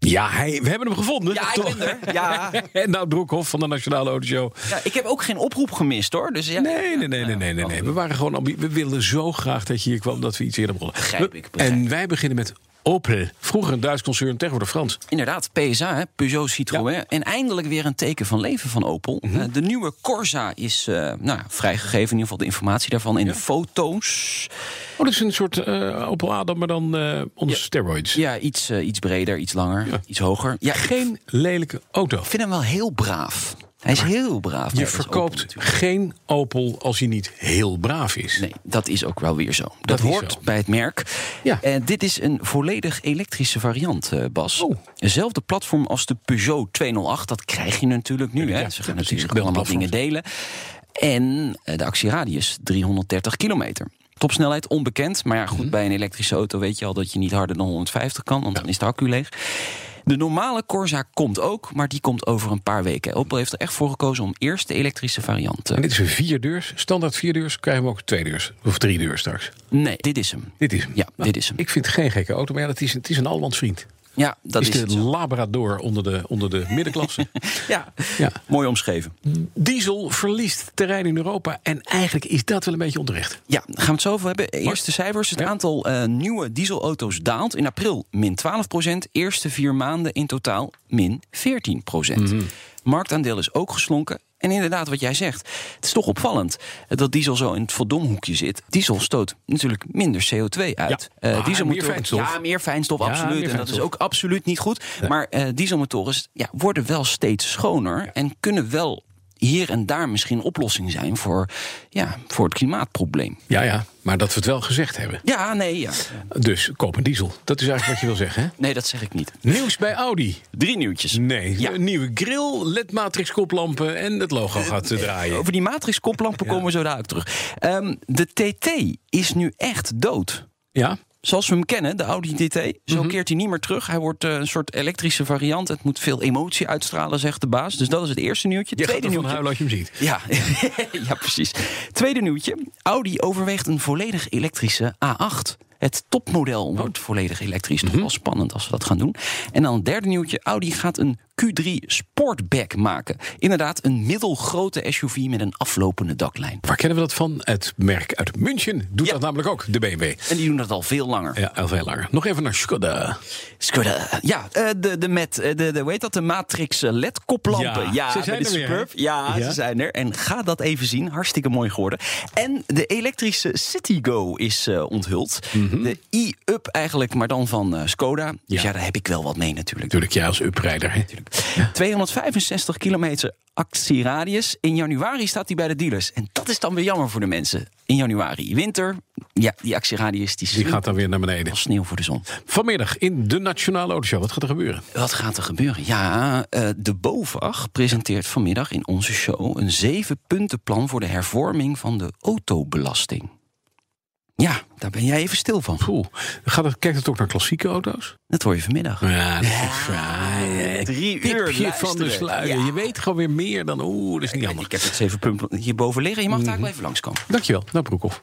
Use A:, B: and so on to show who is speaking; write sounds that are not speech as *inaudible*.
A: Ja, hij, we hebben hem gevonden.
B: Ja, ik
A: Toch?
B: ben er. *laughs* Ja.
A: *laughs* En nou Broekhoff van de Nationale Autoshow.
B: Ja, ik heb ook geen oproep gemist hoor. Dus ja,
A: Nee, nee, nee, nee, nee, nee, nee. We waren gewoon ambi- We wilden zo graag dat je hier kwam dat we iets eerder begonnen.
B: Begrijp
A: We-
B: ik, begrijp
A: En wij beginnen met Opel. Vroeger een Duits concern, tegenwoordig Frans.
B: Inderdaad, PSA, hè, Peugeot Citroën. En eindelijk weer een teken van leven van Opel.
A: Mhm.
B: Eh, De nieuwe Corsa is eh, nou, ja, vrijgegeven, in ieder geval de informatie daarvan in de foto's.
A: Oh, dat is een soort eh, Opel Adam, maar dan eh onder steroids.
B: Ja, iets, eh, iets breder, iets langer, iets hoger. Ja, ik
A: Geen lelijke auto.
B: vind hem wel heel braaf. Hij is heel braaf.
A: Je
B: Ja, dat is Opel
A: verkoopt
B: natuurlijk.
A: geen Opel als hij niet heel braaf is.
B: Nee, dat is ook wel weer zo. Dat,
A: is
B: hoort
A: zo.
B: bij het merk.
A: Ja.
B: En dit is een volledig elektrische variant, eh, Bas.
A: Oh.
B: Dezelfde platform als de Peugeot 208. Dat krijg je natuurlijk nu. hè.
A: ja,
B: Ze
A: ja,
B: gaan
A: precies.
B: natuurlijk
A: Wel
B: allemaal
A: platform.
B: dingen delen. En eh, de actieradius 330 kilometer. Topsnelheid onbekend. Maar ja, goed,
A: Mhm.
B: bij een elektrische auto weet je al dat je niet harder dan 150 kan. Want dan is de accu leeg. De normale Corsa komt ook, maar die komt over een paar weken. Opel heeft er echt voor gekozen om eerst de elektrische variant. eh,
A: En dit is een vierdeurs. Standaard vierdeurs. Krijgen we ook tweedeurs. Of driedeurs straks.
B: Nee, dit is hem.
A: Dit is hem.
B: Ja, dit is hem.
A: Ik vind het geen gekke auto, maar ja, dat is, het is een Almans vriend.
B: Ja, dat
A: Het
B: is
A: is
B: het
A: de
B: zo.
A: Labrador onder de, onder de
B: *laughs*
A: middenklasse.
B: Ja.
A: Ja.
B: mooi omschreven.
A: Diesel verliest terrein in Europa. En eigenlijk is dat wel een beetje onterecht.
B: Ja, daar gaan we het zo over hebben. Eerste cijfers. Het
A: Ja.
B: aantal eh, nieuwe dieselauto's daalt. In april min 12 Eerste vier maanden in totaal min 14
A: Mhm.
B: Marktaandeel is ook geslonken. En inderdaad, wat jij zegt. Het is toch opvallend eh, dat diesel zo in het verdomhoekje zit. Diesel stoot natuurlijk minder CO2 uit.
A: Ja,
B: Eh,
A: maar meer fijnstof.
B: Ja, meer fijnstof,
A: Ja,
B: absoluut.
A: meer
B: en dat is
A: fijnstof.
B: ook absoluut niet goed. Maar eh, dieselmotoren ja, worden wel steeds schoner. En kunnen wel hier en daar misschien oplossing zijn voor, ja, voor het klimaatprobleem.
A: Ja, ja. Maar dat we het wel gezegd hebben.
B: Ja, nee, ja.
A: Dus koop een diesel. Dat is eigenlijk wat je wil zeggen, hè?
B: Nee, dat zeg ik niet.
A: Nieuws bij Audi.
B: Drie nieuwtjes.
A: Nee,
B: Ja.
A: een nieuwe grill, LED-matrix koplampen en het logo gaat eh, draaien.
B: Over die matrixkoplampen komen we zo dadelijk terug. Ehm, de TT is nu echt dood.
A: Ja,
B: Zoals we hem kennen, de Audi TT,
A: Mhm.
B: zo keert hij niet meer terug. Hij wordt eh, een soort elektrische variant. Het moet veel emotie uitstralen, zegt de baas. Dus dat is het eerste nieuwtje.
A: je gaat
B: Tweede
A: ervan
B: nieuwtje.
A: huilen als je hem ziet.
B: Ja. *laughs* ja, precies. Tweede nieuwtje. Audi overweegt een volledig elektrische A8. Het topmodel wordt volledig elektrisch. Toch wel spannend als we dat gaan doen. En dan een derde nieuwtje. Audi gaat een Q3 Sportback maken. Inderdaad, een middelgrote SUV met een aflopende daklijn.
A: Waar kennen we dat van? Het merk uit München doet
B: Ja.
A: dat namelijk ook, de BMW.
B: En die doen dat al veel langer.
A: Ja, al veel langer. Nog even naar Skoda.
B: Skoda. Ja, eh, de, de met, eh, de, de, hoe heet dat? De Matrix eh, LED-koplampen.
A: Ja,
B: Ja,
A: ze zijn
B: met de
A: er weer,
B: Superb.
A: hè?
B: Ja,
A: Ja.
B: ze zijn er. En ga dat even zien. Hartstikke mooi geworden. En de elektrische Citigo is eh, onthuld. De e-up eigenlijk, maar dan van eh, Skoda. Dus
A: Mhm. Ja.
B: ja, daar heb ik wel wat mee natuurlijk.
A: Natuurlijk, jij als uprijder. hè?
B: 265 kilometer actieradius. In januari staat die bij de dealers. En dat is dan weer jammer voor de mensen. In januari, winter. Ja, die actieradius die,
A: Die gaat dan weer naar beneden.
B: als sneeuw voor de zon.
A: Vanmiddag in de Nationale Autoshow. Wat gaat er gebeuren?
B: Wat gaat er gebeuren? Ja, eh, de BOVAG presenteert vanmiddag in onze show een zevenpuntenplan voor de hervorming van de autobelasting. Ja, daar ben jij even stil van.
A: Poeh. Gaat het, kijkt het ook naar klassieke auto's?
B: Dat hoor je vanmiddag.
A: Ja, dat is fraai.
B: Drie
A: Tipje van de sluier.
B: Ja.
A: Je weet gewoon weer meer dan... Oeh, dat is niet handig.
B: Ik heb het zevenpuntenplan hierboven liggen. Je mag
A: Mhm.
B: daar ook wel even langskomen.
A: Dankjewel, naar Broekhoff.